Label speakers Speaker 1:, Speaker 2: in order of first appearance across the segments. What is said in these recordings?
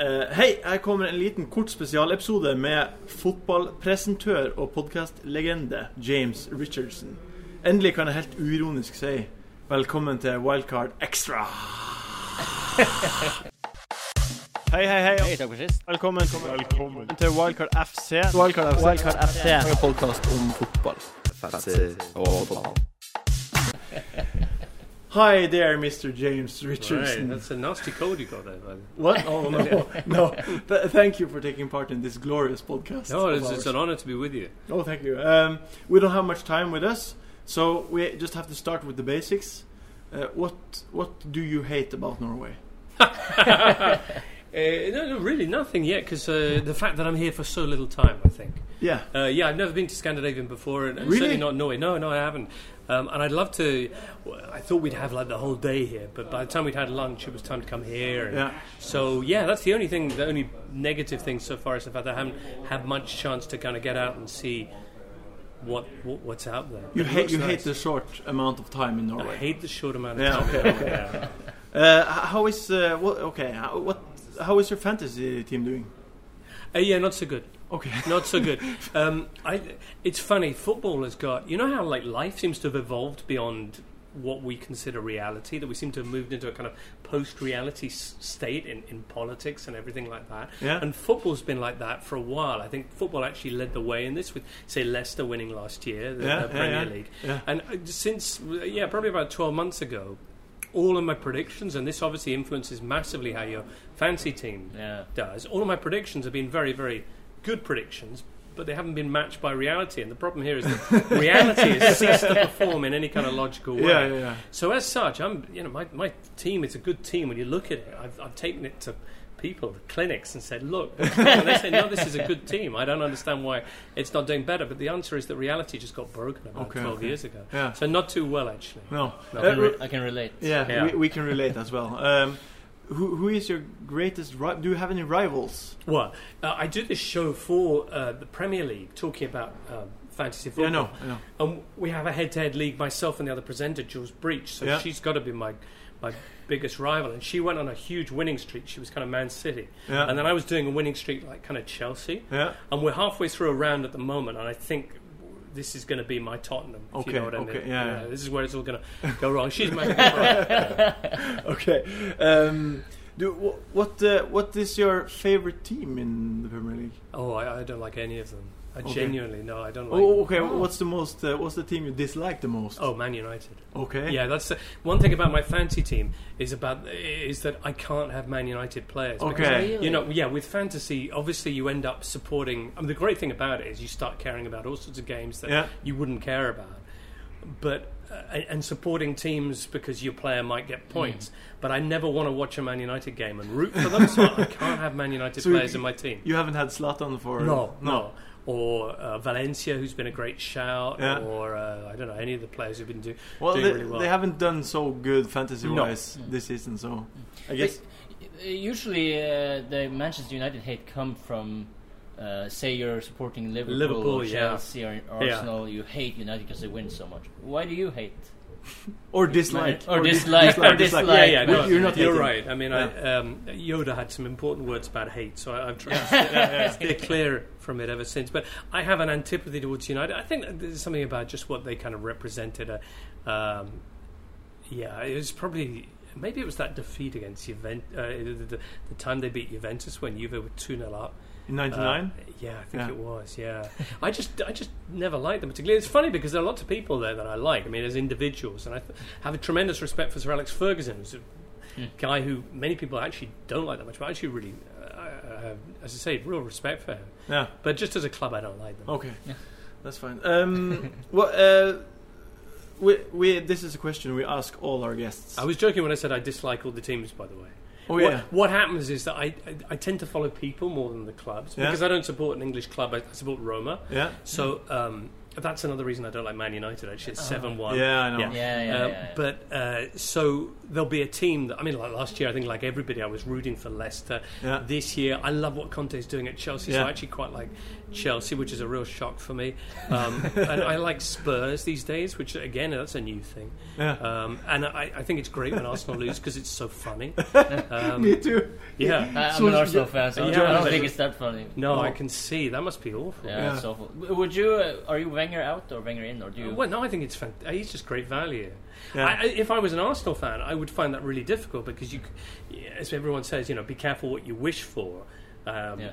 Speaker 1: Eh, hei, her kommer en liten kort spesialepisode med fotballpresentør og podkastlegende James Richardson. Endelig kan jeg helt uironisk si velkommen til Wildcard Extra. hei, hei, hei.
Speaker 2: Hei, takk for sist.
Speaker 1: Velkommen, til Wildcard FC. Wildcard FC.
Speaker 2: FC.
Speaker 1: Hi there, Mr. James Richardson.
Speaker 3: that's a nasty cold you got there, by the way.
Speaker 1: What? Oh no, no. Th- thank you for taking part in this glorious podcast.
Speaker 3: No,
Speaker 1: of
Speaker 3: it's, it's
Speaker 1: ours.
Speaker 3: an honor to be with you.
Speaker 1: Oh, thank you. Um, we don't have much time with us, so we just have to start with the basics. Uh, what What do you hate about Norway?
Speaker 3: Uh, no, no, really nothing yet, because uh, the fact that I'm here for so little time, I think.
Speaker 1: Yeah,
Speaker 3: Uh, yeah, I've never been to Scandinavia before, and and
Speaker 1: Really?
Speaker 3: certainly not Norway. No, no, I haven't. Um, and I'd love to. well, I thought we'd have like the whole day here, but by the time we'd had lunch, it was time to come here. And
Speaker 1: Yeah.
Speaker 3: So yeah, that's the only thing, the only negative thing so far is the fact that I haven't had much chance to kind of get out and see what, what what's out there.
Speaker 1: you
Speaker 3: It
Speaker 1: hate
Speaker 3: looks
Speaker 1: you hate
Speaker 3: nice.
Speaker 1: the short amount of time in
Speaker 3: I
Speaker 1: Norway.
Speaker 3: hate the short amount of
Speaker 1: Yeah,
Speaker 3: time.
Speaker 1: okay, okay.
Speaker 3: Yeah.
Speaker 1: Uh, h- how is uh, what? Okay, how, what? How is your fantasy team doing?
Speaker 3: Uh, yeah, not so good.
Speaker 1: Okay.
Speaker 3: Not so good. Um, I, it's funny. Football has got. You know how like life seems to have evolved beyond what we consider reality. That we seem to have moved into a kind of post-reality s- state in, in politics and everything like that.
Speaker 1: Yeah.
Speaker 3: And football's been like that for a while. I think football actually led the way in this with say Leicester winning last year the,
Speaker 1: Yeah,
Speaker 3: the
Speaker 1: yeah,
Speaker 3: Premier
Speaker 1: yeah.
Speaker 3: League.
Speaker 1: Yeah.
Speaker 3: And uh, since yeah, probably about twelve months ago. All of my predictions, and this obviously influences massively how your fancy team
Speaker 2: Yeah.
Speaker 3: does. All of my predictions have been very, very good predictions, but they haven't been matched by reality. And the problem here is that reality has ceased to perform in any kind of logical way.
Speaker 1: Yeah, yeah, yeah.
Speaker 3: So as such, I'm, you know, my, my team is a good team when you look at it. I've, I've taken it to people, the clinics, and said, look, and they say, no, this is a good team. I don't understand why it's not doing better. But the answer is that reality just got broken about
Speaker 1: Okay,
Speaker 3: 12
Speaker 1: okay.
Speaker 3: years ago.
Speaker 1: Yeah.
Speaker 3: So not too well, actually.
Speaker 1: No.
Speaker 3: No.
Speaker 2: I
Speaker 1: Uh,
Speaker 2: can, re- I can relate.
Speaker 1: yeah,
Speaker 3: Yeah.
Speaker 1: We, we can relate as well. Um, who Who is your greatest? Ri- do you have any rivals?
Speaker 3: Well, uh, I do this show for uh, the Premier League, talking about um, fantasy football.
Speaker 1: Yeah, no, I know.
Speaker 3: And we have a head-to-head league, myself and the other presenter, Jules Breach. So
Speaker 1: Yeah.
Speaker 3: she's got to be my my biggest rival. And she went on a huge winning streak. She was kind of Man City,
Speaker 1: Yeah.
Speaker 3: and then I was doing a winning streak like kind of Chelsea.
Speaker 1: Yeah.
Speaker 3: And we're halfway through a round at the moment, and I think this is going to be my Tottenham. If
Speaker 1: Okay,
Speaker 3: you know what I
Speaker 1: okay,
Speaker 3: mean?
Speaker 1: yeah, yeah.
Speaker 3: This is where it's all going to go wrong. She's my biggest rival.
Speaker 1: Okay. Um, do wh- what? Uh, what is your favorite team in the Premier League?
Speaker 3: Oh, I, I don't like any of them. I
Speaker 1: Okay.
Speaker 3: genuinely no, I don't like.
Speaker 1: Oh, okay. What's the most? Uh, what's the team you dislike the most?
Speaker 3: Oh, Man United.
Speaker 1: okay.
Speaker 3: Yeah, that's the, one thing about my fantasy team is about is that I can't have Man United players.
Speaker 1: Oh,
Speaker 3: because,
Speaker 1: Okay.
Speaker 3: You know, yeah, with fantasy, obviously you end up supporting. I mean, the great thing about it is you start caring about all sorts of games that
Speaker 1: Yeah.
Speaker 3: you wouldn't care about, but uh, and- and supporting teams because your player might
Speaker 1: Hmm.
Speaker 3: get points. But I never want to watch a Man United game and root for them, so I can't have Man United
Speaker 1: So you-
Speaker 3: players in my team.
Speaker 1: You haven't had Zlatan for
Speaker 3: No, no. Or uh, Valencia, who's been a great shout,
Speaker 1: Yeah.
Speaker 3: or uh, I don't know any of the players who've been do,
Speaker 1: Well,
Speaker 3: doing
Speaker 1: they,
Speaker 3: really well.
Speaker 1: they haven't done so good fantasy wise this season, so I guess.
Speaker 2: But, uh, usually, uh, the Manchester United hate come from, uh, say, you're supporting Liverpool,
Speaker 3: Liverpool,
Speaker 2: or
Speaker 3: yeah.
Speaker 2: Chelsea, or Arsenal. You hate United because they win so much. Why do you hate?
Speaker 1: Or dislike.
Speaker 2: Or
Speaker 1: dis-
Speaker 2: dislike, or
Speaker 3: yeah,
Speaker 2: dislike.
Speaker 3: yeah,
Speaker 2: Like,
Speaker 3: no,
Speaker 2: but
Speaker 1: you're not.
Speaker 3: You're
Speaker 1: hating.
Speaker 3: right. I mean, I,
Speaker 1: Yeah.
Speaker 3: um, Yoda had some important words about hate, so I, I've tried to stay, stay clear from it ever since. But I have an antipathy towards United. I think that there's something about just what they kind of represented. Uh, um, yeah, it was probably. Maybe it was that defeat against Juventus, uh, the, the, the time they beat Juventus when Juve were 2 0 up.
Speaker 1: In '99.
Speaker 3: Uh, yeah, I think
Speaker 1: Yeah.
Speaker 3: it was. Yeah, I just I just never liked them particularly. It's funny because there are lots of people there that I like. I mean, as individuals, and I th- have a tremendous respect for Sir Alex Ferguson, who's a
Speaker 1: Hmm.
Speaker 3: guy who many people actually don't like that much, but I actually really, uh, I have, as I say, real respect for him.
Speaker 1: yeah.
Speaker 3: But just as a club, I don't like them.
Speaker 1: Okay. That's fine. Um, well, uh, we, we this is a question we ask all our guests.
Speaker 3: I was joking when I said I dislike all the teams. By the way.
Speaker 1: oh
Speaker 3: What-
Speaker 1: yeah.
Speaker 3: What, happens is that I, I, I tend to follow people more than the clubs
Speaker 1: Yeah.
Speaker 3: because I don't support an English club. I, I support Roma.
Speaker 1: Yeah.
Speaker 3: So um, that's another reason I don't like Man United. Actually, it's seven one.
Speaker 1: Yeah, I know.
Speaker 3: Yeah.
Speaker 2: Oh. Yeah, yeah,
Speaker 3: Uh,
Speaker 2: yeah, yeah.
Speaker 3: But uh, so there'll be a team that I mean, like last year, I think like everybody, I was rooting for Leicester.
Speaker 1: Yeah.
Speaker 3: This year, I love what Conte's doing at Chelsea. So
Speaker 1: Yeah.
Speaker 3: I actually quite like Chelsea, which is a real shock for me. Um, and I like Spurs these days, which again, that's a new thing.
Speaker 1: Yeah.
Speaker 3: Um, and I, I think it's great when Arsenal lose because it's so funny. Um,
Speaker 1: Me too.
Speaker 3: yeah.
Speaker 2: I- I'm
Speaker 1: So-
Speaker 2: an Arsenal fan, so
Speaker 3: Yeah,
Speaker 2: I don't
Speaker 3: but-
Speaker 2: think it's that funny.
Speaker 3: No,
Speaker 1: No.
Speaker 3: I can see that must be awful.
Speaker 2: Oh. Yeah,
Speaker 1: Yeah.
Speaker 2: it's awful. W- Would you? Uh, are you Wenger out or Wenger in, or do you?
Speaker 3: Well, no, I think it's fant- he's just great value.
Speaker 1: Yeah.
Speaker 3: I, I, if I was an Arsenal fan, I would find that really difficult because you, c- yeah, as everyone says, you know, be careful what you wish for. Um,
Speaker 2: Yeah.
Speaker 3: y-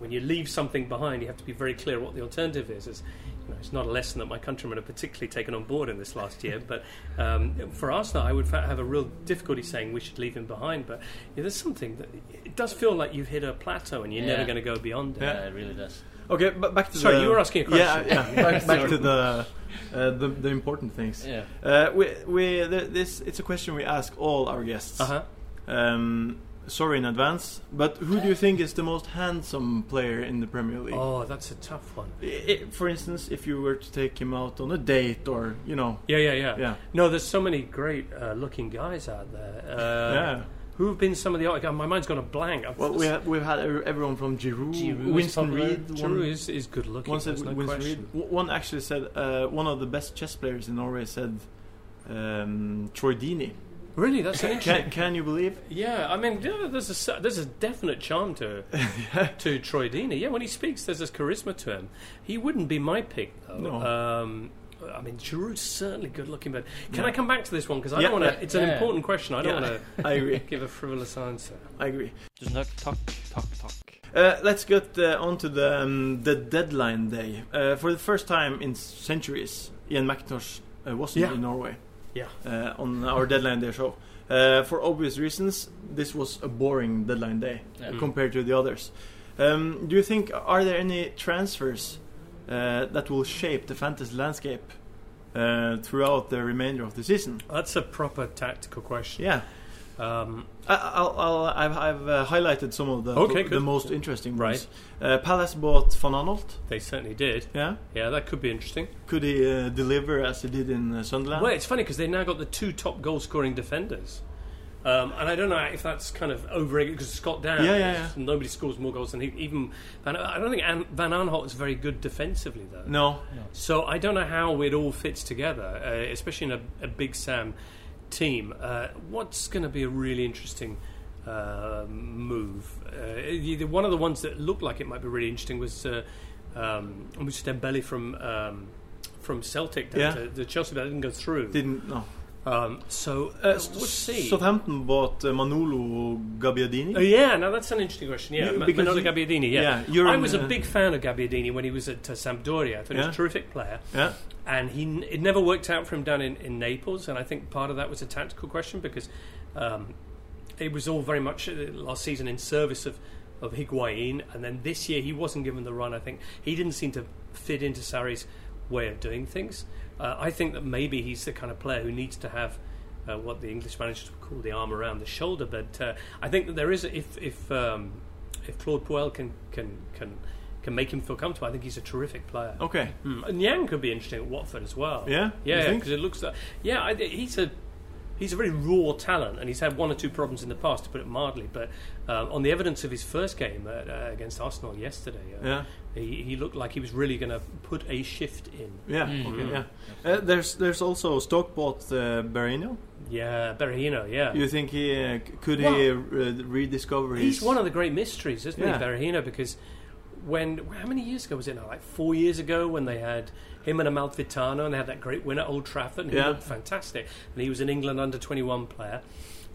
Speaker 3: When you leave something behind, you have to be very clear what the alternative is. It's, you know, it's not a lesson that my countrymen have particularly taken on board in this last year. But um, for Arsenal, I would fa- have a real difficulty saying we should leave him behind. But yeah, there's something that it does feel like you've hit a plateau and you're never
Speaker 2: Yeah.
Speaker 3: going to go beyond it.
Speaker 2: yeah, it really does.
Speaker 1: Okay, b- back to
Speaker 3: Sorry,
Speaker 1: the,
Speaker 3: you were asking a question.
Speaker 1: Yeah, yeah. Back, back to the, uh, the the important things.
Speaker 2: Yeah.
Speaker 1: Uh, we we th this it's a question we ask all our guests.
Speaker 3: Uh-huh.
Speaker 1: Um, sorry in advance, but who do you think is the most handsome player in the Premier League?
Speaker 3: Oh, that's a tough one.
Speaker 1: I- i- for instance, if you were to take him out on a date, or you know,
Speaker 3: Yeah, yeah, yeah.
Speaker 1: Yeah.
Speaker 3: No, there's so many great uh, looking guys out there. Uh,
Speaker 1: Yeah.
Speaker 3: Who have been some of the like, my mind's gone a blank. I've-
Speaker 1: well, we ha- we've had ev- everyone from Giroud,
Speaker 2: Giroud is
Speaker 1: Winston
Speaker 2: popular.
Speaker 1: Reed. one-
Speaker 3: Giroud is, is good looking.
Speaker 1: One said
Speaker 3: there's no
Speaker 1: Winston
Speaker 3: question.
Speaker 1: Reed. W- One actually said uh, one of the best chess players in Norway said um, Troy Deeney.
Speaker 3: Really, that's an interesting.
Speaker 1: Can, can you believe?
Speaker 3: yeah, I mean, yeah, there's a cer- there's a definite charm to to Troy Deeney. Yeah, when he speaks, there's this charisma to him. He wouldn't be my pick though.
Speaker 1: No.
Speaker 3: Um, I mean, Giroud's certainly good looking, but can I come back to this one because I
Speaker 1: Yeah.
Speaker 3: don't want to. It's an
Speaker 2: Yeah.
Speaker 3: important question. I don't
Speaker 1: Yeah.
Speaker 3: want
Speaker 1: I
Speaker 3: to
Speaker 1: agree.
Speaker 3: give a frivolous answer.
Speaker 1: I agree.
Speaker 2: Tusen takk, takk, takk, takk.
Speaker 1: Uh, let's get uh, on to the, um, the deadline day. Uh, for the first time in centuries, Ian McIntosh uh, wasn't
Speaker 3: Yeah.
Speaker 1: in Norway
Speaker 3: Yeah.
Speaker 1: uh, on our deadline day show. Uh, for obvious reasons, this was a boring deadline day
Speaker 2: Yeah.
Speaker 3: Mm.
Speaker 1: uh, compared to the others. Um, do you think are there any transfers uh, that will shape the fantasy landscape uh, throughout the remainder of the season?
Speaker 3: That's a proper tactical question.
Speaker 1: Yeah,
Speaker 3: Um,
Speaker 1: I, I'll, I'll, I've, I've uh, highlighted some of the
Speaker 3: Okay,
Speaker 1: the
Speaker 3: good.
Speaker 1: most interesting
Speaker 3: Right.
Speaker 1: ones. Uh, Palace bought Van Aanholt.
Speaker 3: they certainly did.
Speaker 1: Yeah.
Speaker 3: Yeah, that could be interesting.
Speaker 1: Could he uh, deliver as he did in uh, Sunderland?
Speaker 3: Well, it's funny because they've now got the two top goal scoring defenders. Um, and I don't know if that's kind of over because Scott Down,
Speaker 1: Yeah, yeah, yeah.
Speaker 3: nobody scores more goals than he. Even Van, I don't think An, Van Aanholt is very good defensively though.
Speaker 1: No.
Speaker 3: So I don't know how it all fits together, uh, especially in a, a Big Sam team. Uh, what's going to be a really interesting uh, move? Uh, either one of the ones that looked like it might be really interesting was uh, um, was Dembele from um, from Celtic down
Speaker 1: Yeah.
Speaker 3: to, to Chelsea, but that didn't go through.
Speaker 1: Didn't no.
Speaker 3: Um, so uh,
Speaker 1: Uh,
Speaker 3: we'll see.
Speaker 1: Southampton bought uh, Manolo Gabbiadini.
Speaker 3: Oh, yeah, now that's an interesting question. Yeah,
Speaker 1: You-
Speaker 3: Ma-
Speaker 1: because
Speaker 3: Manolo
Speaker 1: you-
Speaker 3: Gabbiadini. Yeah,
Speaker 1: yeah, you're
Speaker 3: I
Speaker 1: an,
Speaker 3: was a
Speaker 1: uh,
Speaker 3: big fan of Gabbiadini when he was at uh, Sampdoria. I thought he was
Speaker 1: Yeah.
Speaker 3: a terrific player.
Speaker 1: yeah.
Speaker 3: and he n- it never worked out for him down in, in Naples, and I think part of that was a tactical question because um, it was all very much uh, last season in service of of Higuain, and then this year he wasn't given the run. I think he didn't seem to fit into Sarri's way of doing things. Uh, I think that maybe he's the kind of player who needs to have. Uh, what the English managers would call the arm around the shoulder, but uh, I think that there is if if um, if Claude Puel can can can can make him feel comfortable, I think he's a terrific player.
Speaker 1: Okay.
Speaker 3: Mm. And Yang could be interesting at Watford as well.
Speaker 1: Yeah? You
Speaker 3: yeah,
Speaker 1: think?
Speaker 3: because it looks like yeah, I, he's a he's a very raw talent, and he's had one or two problems in the past, to put it mildly. But um, on the evidence of his first game at, uh, against Arsenal yesterday, uh,
Speaker 1: Yeah.
Speaker 3: he, he looked like he was really going to put a shift in.
Speaker 1: Yeah.
Speaker 3: Mm.
Speaker 1: Okay. Yeah. Uh, there's there's also Stoke bought uh, Barino.
Speaker 3: Yeah, Berahino, yeah.
Speaker 1: You think he uh, c- could he uh,
Speaker 3: Well,
Speaker 1: rediscover his?
Speaker 3: He's one of the great mysteries, isn't
Speaker 1: Yeah.
Speaker 3: he, Berahino? Because when how many years ago was it now? Like four years ago, when they had him and Amal Vitano, and they had that great win at Old Trafford, and
Speaker 1: Yeah.
Speaker 3: he looked fantastic, and he was an England under twenty one player.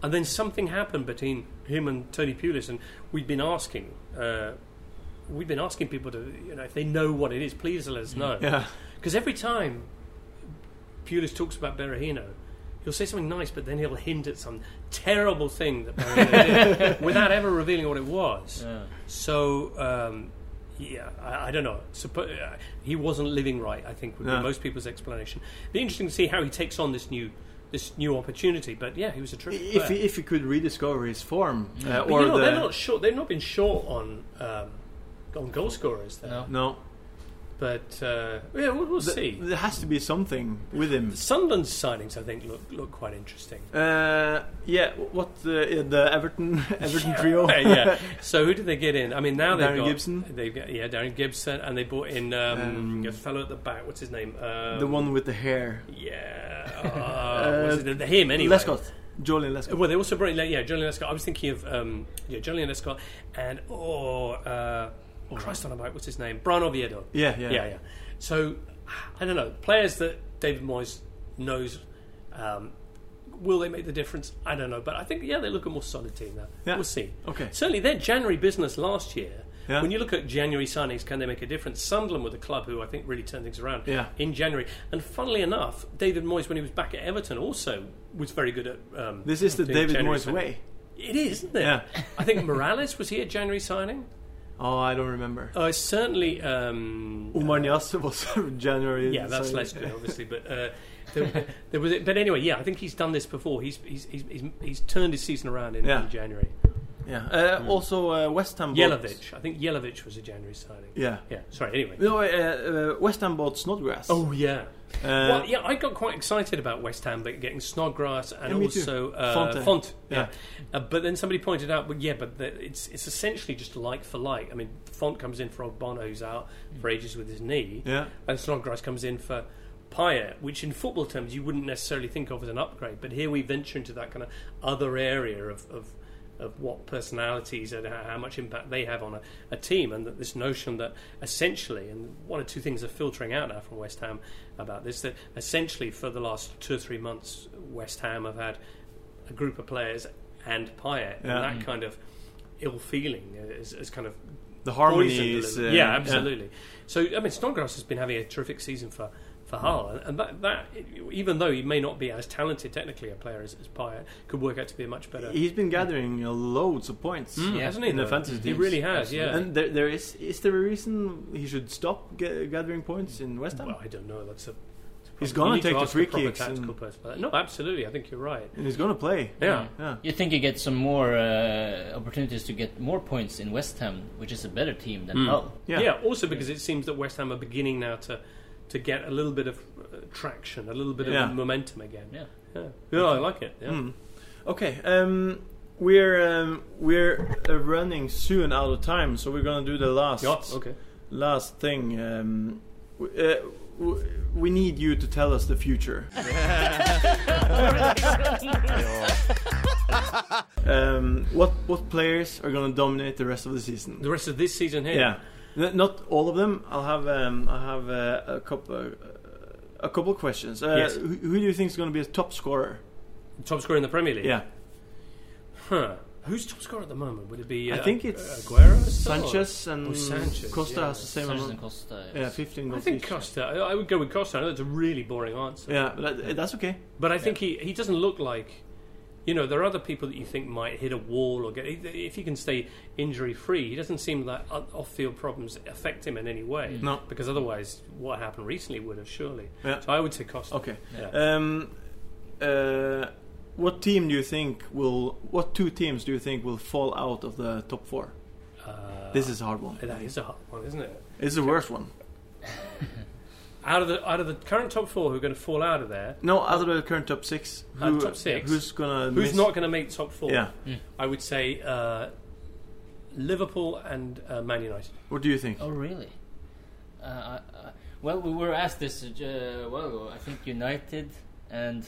Speaker 3: And then something happened between him and Tony Pulis, and we've been asking. Uh, We've been asking people to, you know, if they know what it is, please let us know.
Speaker 1: Mm. Yeah.
Speaker 3: Because every time Pulis talks about Berahino, he'll say something nice, but then he'll hint at some terrible thing that Berahino did without ever revealing what it was.
Speaker 2: Yeah.
Speaker 3: So, um, yeah, I, I don't know. Suppo- uh, he wasn't living right, I think, would
Speaker 1: No.
Speaker 3: be most people's explanation. Be interesting to see how he takes on this new this new opportunity. But yeah, he was a terrific
Speaker 1: If he,
Speaker 3: player.
Speaker 1: if he could rediscover his form uh,
Speaker 3: Mm. But
Speaker 1: or
Speaker 3: you know,
Speaker 1: the
Speaker 3: they're not short. They've not been short on um, on goal scorers. There.
Speaker 2: No.
Speaker 1: no.
Speaker 3: But uh, yeah, we'll, we'll
Speaker 1: Th-
Speaker 3: see.
Speaker 1: There has to be something with him.
Speaker 3: The Sunderland signings, I think, look look quite interesting.
Speaker 1: Uh, yeah, what uh, the Everton Everton trio?
Speaker 3: yeah, yeah. So who did they get in? I mean, now they've
Speaker 1: Darren
Speaker 3: got
Speaker 1: Gibson?
Speaker 3: They've got yeah, Darren Gibson, and they brought in um,
Speaker 1: Um,
Speaker 3: a fellow at the back. What's his name? Um,
Speaker 1: the one with the hair.
Speaker 3: Yeah. Uh, what's his name? Him anyway.
Speaker 1: Lescott, Julian Lescott.
Speaker 3: Well, they also brought in, like, yeah, Julian Lescott. I was thinking of, um, yeah, Julian Lescott and, oh, uh, oh, Christ on a bike, what's his name? Brian Oviedo.
Speaker 1: Yeah, yeah,
Speaker 3: Yeah, yeah. So, I don't know. Players that David Moyes knows, um, will they make the difference? I don't know. But I think, yeah, they look a more solid team now.
Speaker 1: Yeah.
Speaker 3: We'll see.
Speaker 1: Okay.
Speaker 3: Certainly their January business last year.
Speaker 1: Yeah.
Speaker 3: When you look at January signings, can they make a difference? Sunderland were the club who I think really turned things around
Speaker 1: Yeah.
Speaker 3: in January. And funnily enough, David Moyes, when he was back at Everton, also was very good at. Um,
Speaker 1: This is the
Speaker 3: doing
Speaker 1: David
Speaker 3: January
Speaker 1: Moyes
Speaker 3: signing.
Speaker 1: way.
Speaker 3: It is, isn't it?
Speaker 1: Yeah.
Speaker 3: I think Morales was he at January signing?
Speaker 1: Oh, I don't remember.
Speaker 3: Uh, certainly. Um,
Speaker 1: Umar Nias was January.
Speaker 3: yeah, that's
Speaker 1: signing.
Speaker 3: legendary, obviously. But uh, there, there was, but anyway, yeah, I think he's done this before. He's he's he's, he's, he's turned his season around in,
Speaker 1: Yeah.
Speaker 3: in January.
Speaker 1: Yeah.
Speaker 3: Mm.
Speaker 1: Uh, Also, uh, West Ham. bought-
Speaker 3: Yelovich, I think Yelovich was a January signing.
Speaker 1: Yeah.
Speaker 3: Yeah, sorry. Anyway.
Speaker 1: No, uh, uh, West Ham bought Snodgrass.
Speaker 3: Oh yeah.
Speaker 1: Uh,
Speaker 3: well, yeah, I got quite excited about West Ham but getting Snodgrass and
Speaker 1: Yeah, me too.
Speaker 3: also uh,
Speaker 1: Fonte.
Speaker 3: Font.
Speaker 1: Yeah.
Speaker 3: yeah. Uh, but then somebody pointed out, well, yeah, but the, it's it's essentially just like for like. I mean, Font comes in for Bono, who's out for ages with his knee,
Speaker 1: Yeah.
Speaker 3: and Snodgrass comes in for Payet, which in football terms you wouldn't necessarily think of as an upgrade. But here we venture into that kind of other area of. of of what personalities and how how much impact they have on a, a team, and that this notion that essentially, and one or two things are filtering out now from West Ham about this, that essentially for the last two or three months, West Ham have had a group of players and Payet,
Speaker 1: Yeah.
Speaker 3: and that kind of ill feeling is, is kind of
Speaker 1: The harmony
Speaker 3: poisoned a
Speaker 1: is,
Speaker 3: little-
Speaker 1: uh,
Speaker 3: yeah,
Speaker 1: yeah.
Speaker 3: absolutely. So I mean, Snodgrass has been having a terrific season for for
Speaker 1: Hmm.
Speaker 3: Hull, and, and that, that even though he may not be as talented technically a player as, as Payet, could work out to be a much better.
Speaker 1: He's been gathering uh, loads of points.
Speaker 2: Yeah.
Speaker 3: hasn't he?
Speaker 1: in the
Speaker 3: though?
Speaker 1: fantasy
Speaker 3: Mm. he
Speaker 1: teams.
Speaker 3: really has. Yeah.
Speaker 1: And there, there is is there a reason he should stop ga- gathering points in West Ham?
Speaker 3: well, I don't know. That's a.
Speaker 1: He's
Speaker 3: you
Speaker 1: gonna
Speaker 3: need
Speaker 1: take the
Speaker 3: ask
Speaker 1: free
Speaker 3: proper
Speaker 1: kicks and-
Speaker 3: tactical person for that. No, absolutely. I think you're right. Mm.
Speaker 1: and he's going to play.
Speaker 3: Yeah.
Speaker 1: Yeah.
Speaker 2: You think you get some more uh, opportunities to get more points in West Ham, which is a better team
Speaker 1: Hmm.
Speaker 2: than Hull.
Speaker 1: Yeah.
Speaker 3: also because it seems that West Ham are beginning now to to get a little bit of uh, traction, a little bit of
Speaker 1: Yeah.
Speaker 3: momentum again.
Speaker 2: Yeah.
Speaker 3: Yeah. Yeah, I like it. Yeah.
Speaker 1: Mm. Okay. Um, we're um, we're uh, running soon out of time, so we're going to do the last
Speaker 3: Yeah, okay.
Speaker 1: last thing. Um, w- uh, w- we need you to tell us the future. um, what what players are going to dominate the rest of the season?
Speaker 3: The rest of this season here.
Speaker 1: Yeah, N- not all of them. I'll have um, I have uh, a couple uh, a couple questions. Uh,
Speaker 3: Yes.
Speaker 1: who, who do you think is going to be a top scorer?
Speaker 3: Top scorer in the Premier League.
Speaker 1: Yeah,
Speaker 3: Huh. Who's top scorer at the moment? Would it be?
Speaker 1: I
Speaker 3: uh,
Speaker 1: think it's
Speaker 3: Aguero, still, or-
Speaker 1: Sanchez and
Speaker 3: Oh, Sanchez,
Speaker 1: Costa
Speaker 3: yeah.
Speaker 1: has the same
Speaker 2: Sanchez and
Speaker 1: amount.
Speaker 2: Costa.
Speaker 1: Yeah,
Speaker 2: yes.
Speaker 1: fifteen.
Speaker 3: I
Speaker 1: goals
Speaker 3: think
Speaker 1: each.
Speaker 3: Costa. I I would go with Costa. I know that's a really boring answer,
Speaker 1: Yeah, but that, that's okay.
Speaker 3: but I think he, he doesn't look like. You know, there are other people that you think might hit a wall or get. If he can stay injury free, he doesn't seem that off field problems affect him in any way.
Speaker 2: Hmm.
Speaker 1: No.
Speaker 3: Because otherwise, what happened recently would have surely.
Speaker 1: Mm. Yeah.
Speaker 3: So I would say Costa.
Speaker 1: Okay.
Speaker 3: Yeah.
Speaker 1: Um, uh, what team do you think will? What two teams do you think will fall out of the top four?
Speaker 3: Uh,
Speaker 1: Oh, This is a hard one.
Speaker 3: that is a hard one, isn't it?
Speaker 1: It's the worst one.
Speaker 3: Out of the out of the current top four, who are going to fall out of there?
Speaker 1: No, out of the current top six,
Speaker 3: Out of Uh, top six?
Speaker 1: who's gonna?
Speaker 3: Who's
Speaker 1: miss-
Speaker 3: not going to make top four?
Speaker 1: Yeah.
Speaker 3: I would say uh, Liverpool and uh, Man United.
Speaker 1: What do you think?
Speaker 2: Oh, really? Uh, I- I- well, we were asked this uh, a while ago. I think United and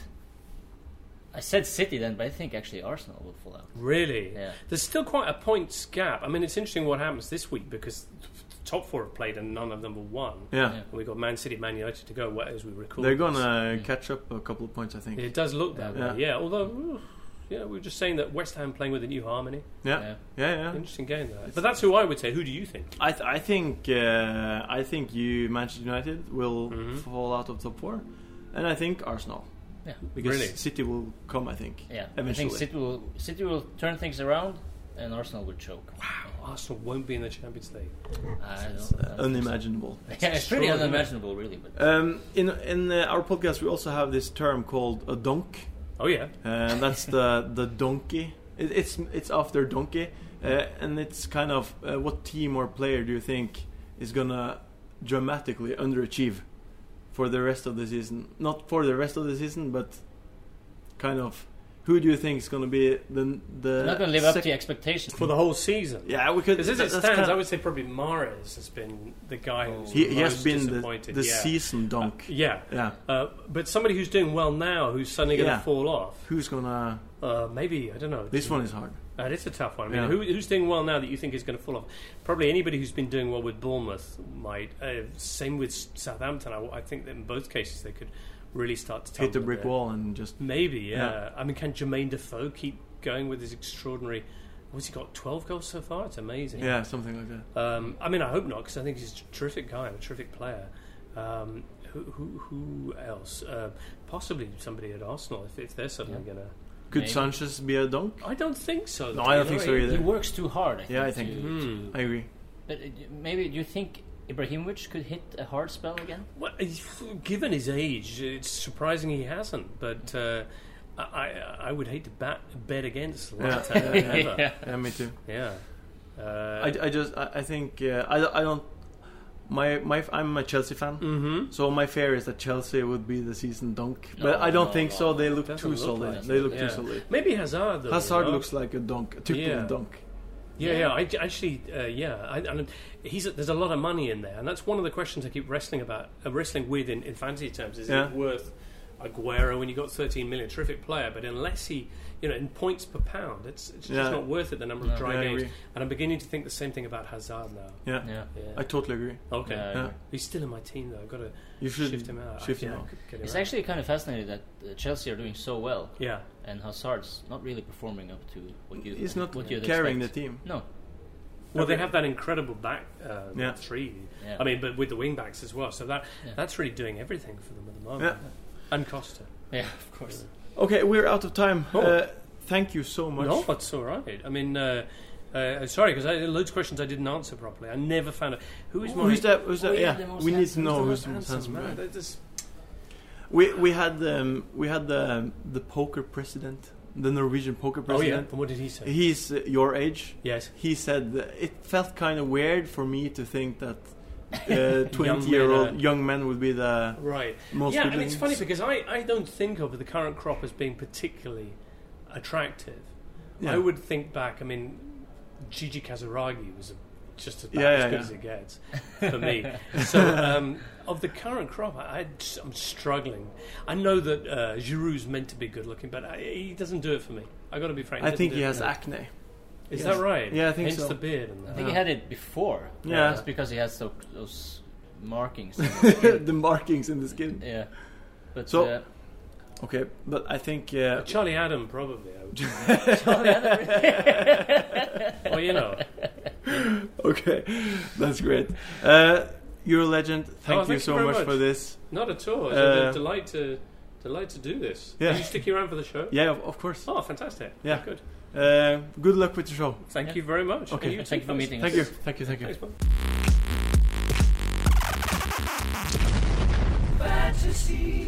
Speaker 2: I said City then, but I think actually Arsenal will fall out.
Speaker 3: Really?
Speaker 2: Yeah.
Speaker 3: There's still quite a points gap. I mean, it's interesting what happens this week because the top four have played and none of them have won.
Speaker 1: Yeah,
Speaker 2: Yeah.
Speaker 3: And we've got Man City, Man United to go wh- as we record.
Speaker 1: they're
Speaker 3: this.
Speaker 1: gonna catch up a couple of points, I think.
Speaker 3: It does look that
Speaker 1: Yeah.
Speaker 3: way. Yeah. Although, oof, yeah, we were just saying that West Ham playing with a new harmony.
Speaker 1: Yeah, yeah, yeah.
Speaker 3: Interesting game that. But that's who I would say. Who do you think?
Speaker 1: I, th- I think uh, I think you Manchester United will
Speaker 3: Mhm.
Speaker 1: fall out of top four, and I think Arsenal
Speaker 2: Yeah.
Speaker 1: because
Speaker 3: Really?
Speaker 1: City will come. I think.
Speaker 2: Yeah, I
Speaker 1: Eventually.
Speaker 2: think City will City will turn things around, and Arsenal will choke.
Speaker 3: Arsenal won't be in the Champions League.
Speaker 2: I don't,
Speaker 1: It's, uh,
Speaker 2: I don't think so.
Speaker 1: unimaginable.
Speaker 2: Yeah, it's pretty
Speaker 3: extraordinary.
Speaker 2: unimaginable, really. But
Speaker 1: Um, in in uh, our podcast, we also have this term called a donk.
Speaker 3: Oh yeah.
Speaker 1: Uh, that's the the donkey. It, it's it's after donkey, uh, and it's kind of uh, what team or player do you think is gonna dramatically underachieve for the rest of the season. Not for the rest of the season, but kind of. Who do you think is going to be the the
Speaker 2: They're not going to live up
Speaker 1: sec-
Speaker 2: to your expectations.
Speaker 3: for the whole season.
Speaker 1: Yeah, we could.
Speaker 3: Because as it
Speaker 1: that's
Speaker 3: stands,
Speaker 1: kind
Speaker 3: I
Speaker 1: of-
Speaker 3: would say probably Mares has been the guy who's
Speaker 1: he, he
Speaker 3: most
Speaker 1: has been the,
Speaker 3: disappointed.
Speaker 1: the
Speaker 3: yeah.
Speaker 1: season dunk.
Speaker 3: Yeah,
Speaker 1: yeah,
Speaker 3: uh, but somebody who's doing well now, who's suddenly going to
Speaker 1: Yeah.
Speaker 3: fall off.
Speaker 1: who's gonna?
Speaker 3: Uh, maybe I don't know.
Speaker 1: This one is hard.
Speaker 3: That is a tough one. I mean,
Speaker 1: Yeah.
Speaker 3: who, who's doing well now that you think is going to fall off? Probably anybody who's been doing well with Bournemouth might. Uh, same with S- Southampton. I, I think that in both cases they could really start to
Speaker 1: Hit the
Speaker 3: tumble
Speaker 1: brick
Speaker 3: there.
Speaker 1: wall and just
Speaker 3: Maybe, yeah.
Speaker 1: Yeah.
Speaker 3: I mean, can Jermaine Defoe keep going with his extraordinary? What's he got? Twelve goals so far. It's amazing.
Speaker 1: yeah, something like that.
Speaker 3: Um, I mean, I hope not, because I think he's a terrific guy, a terrific player. Um, who, who, who else? Uh, possibly somebody at Arsenal, if, if they're suddenly going to.
Speaker 1: Could
Speaker 2: Maybe.
Speaker 1: Sanchez be a dunk?
Speaker 3: I don't think so.
Speaker 1: No,
Speaker 3: though. Hmm.
Speaker 1: I don't think so
Speaker 2: He
Speaker 1: either.
Speaker 2: works too hard. I think,
Speaker 1: Yeah, I
Speaker 2: to-
Speaker 1: think-
Speaker 2: to-
Speaker 1: I agree.
Speaker 2: But uh, maybe do you think Ibrahimovic could hit a hard spell again?
Speaker 3: Well, if- given his age, it's surprising he hasn't. But uh, I, I- I would hate to bat, bet against
Speaker 1: Yeah,
Speaker 3: Latte
Speaker 1: yeah, yeah.
Speaker 3: ever.
Speaker 2: Yeah.
Speaker 1: yeah, me too.
Speaker 3: Yeah.
Speaker 1: I,
Speaker 3: Uh,
Speaker 1: I just I, I think uh, I I don't. My my I'm a Chelsea fan,
Speaker 3: mm-hmm.
Speaker 1: so my fear is that Chelsea would be the season dunk, but
Speaker 2: No,
Speaker 1: I don't
Speaker 2: no,
Speaker 1: think
Speaker 2: no.
Speaker 1: so. They look
Speaker 3: Doesn't
Speaker 1: too
Speaker 3: look
Speaker 1: solid.
Speaker 2: like it.
Speaker 1: they look
Speaker 3: Yeah.
Speaker 1: too solid.
Speaker 3: Maybe Hazard, though.
Speaker 1: Hazard
Speaker 3: you know?
Speaker 1: looks like a dunk, a typical
Speaker 3: Yeah.
Speaker 1: dunk.
Speaker 3: Yeah,
Speaker 2: Yeah.
Speaker 3: yeah. I actually, uh, yeah. I, and he's there's a lot of money in there, and that's one of the questions I keep wrestling about, uh, wrestling with in, in fantasy terms. Is
Speaker 1: Yeah.
Speaker 3: it worth Aguero when you got 13 million, terrific player, but unless he, you know, in points per pound, it's it's
Speaker 1: Yeah.
Speaker 3: just not worth it. The number
Speaker 2: No.
Speaker 3: of dry
Speaker 1: Yeah, I
Speaker 3: games,
Speaker 1: agree.
Speaker 3: and I'm beginning to think the same thing about Hazard now.
Speaker 1: Yeah,
Speaker 2: Yeah.
Speaker 3: Yeah.
Speaker 1: I totally agree.
Speaker 3: okay.
Speaker 2: Yeah.
Speaker 1: Yeah.
Speaker 3: He's still in my team though. I've got to
Speaker 1: You should
Speaker 3: shift him out.
Speaker 1: Shift
Speaker 3: yeah,
Speaker 1: him
Speaker 3: I
Speaker 1: out.
Speaker 3: could get
Speaker 2: It's
Speaker 3: around.
Speaker 2: actually kind of fascinating that uh, Chelsea are doing so well,
Speaker 3: yeah.
Speaker 2: and Hazard's not really performing up to what you.
Speaker 1: He's not
Speaker 2: what you'd
Speaker 1: carrying
Speaker 2: expect.
Speaker 1: the team.
Speaker 2: No.
Speaker 3: Well, they have that incredible back uh,
Speaker 1: Yeah.
Speaker 3: three.
Speaker 2: Yeah.
Speaker 3: I mean, but with the wing backs as well. So that
Speaker 2: Yeah.
Speaker 3: that's really doing everything for them at the moment.
Speaker 1: Yeah.
Speaker 3: And Costa.
Speaker 2: Yeah, of course.
Speaker 1: Okay, we're out of time.
Speaker 3: Oh.
Speaker 1: Uh, thank you so much.
Speaker 3: No, that's all right. I mean, uh, uh, sorry because I had loads of questions I didn't answer properly. I never found out who is my
Speaker 1: Who's that? Who's that?
Speaker 2: Oh, yeah,
Speaker 1: Yeah,
Speaker 2: the most
Speaker 1: we need to
Speaker 2: handsome-
Speaker 1: know who's
Speaker 3: Who's
Speaker 1: the
Speaker 3: the
Speaker 1: most
Speaker 3: handsome
Speaker 1: handsome.
Speaker 3: man?
Speaker 1: guy.
Speaker 3: That is-
Speaker 1: We we had um, we had the the poker president, the Norwegian poker
Speaker 3: Oh yeah,
Speaker 1: president.
Speaker 3: and what did he say?
Speaker 1: He's uh, your age.
Speaker 3: yes,
Speaker 1: he said that it felt kind of weird for me to think that uh,
Speaker 3: Young
Speaker 1: 20 year
Speaker 3: men
Speaker 1: old
Speaker 3: are-
Speaker 1: young men would be the
Speaker 3: right.
Speaker 1: most
Speaker 3: yeah, and it's
Speaker 1: willing-
Speaker 3: funny because I, I don't think of the current crop as being particularly attractive.
Speaker 1: yeah.
Speaker 3: I would think back. I mean, Gigi Kazaragi was a, just about
Speaker 1: Yeah,
Speaker 3: as
Speaker 1: yeah,
Speaker 3: good
Speaker 1: yeah.
Speaker 3: as it gets for me. so, um, of the current crop, I, am struggling. I know that uh, Giroud's meant to be good looking, but I, he doesn't do it for me. I got to be frank.
Speaker 1: I
Speaker 3: doesn't
Speaker 1: think
Speaker 3: do
Speaker 1: he
Speaker 3: it
Speaker 1: has
Speaker 3: for me.
Speaker 1: acne
Speaker 3: Is
Speaker 1: he
Speaker 3: that
Speaker 1: has-
Speaker 3: right?
Speaker 1: yeah, I think
Speaker 3: Hence
Speaker 1: so.
Speaker 3: the beard. And
Speaker 2: I
Speaker 3: that.
Speaker 2: think he
Speaker 1: Yeah.
Speaker 2: had it before.
Speaker 1: Yeah.
Speaker 2: That's because he has so, those markings.
Speaker 1: the markings in the skin
Speaker 2: yeah. But
Speaker 1: So-
Speaker 2: uh,
Speaker 1: okay but I think uh,
Speaker 3: Charlie Adam, probably. I would. well, you know.
Speaker 1: okay that's great uh, you're a legend thank you
Speaker 3: Oh, thank you
Speaker 1: so
Speaker 3: very
Speaker 1: much,
Speaker 3: much.
Speaker 1: for this
Speaker 3: Not at all. It's
Speaker 1: Uh,
Speaker 3: a delight to delight to do this.
Speaker 1: Yeah.
Speaker 3: Are you sticking around for the show?
Speaker 1: yeah of, of course
Speaker 3: Oh, fantastic.
Speaker 1: Yeah.
Speaker 3: Good.
Speaker 1: uh, good luck with the show
Speaker 3: Thank
Speaker 2: Yeah.
Speaker 3: you very much.
Speaker 1: Okay.
Speaker 3: And you
Speaker 2: thank you
Speaker 3: too,
Speaker 2: for
Speaker 3: Faz.
Speaker 2: meeting
Speaker 1: thank
Speaker 2: us.
Speaker 1: you thank you thank you
Speaker 3: Thanks, man.
Speaker 4: fantasy.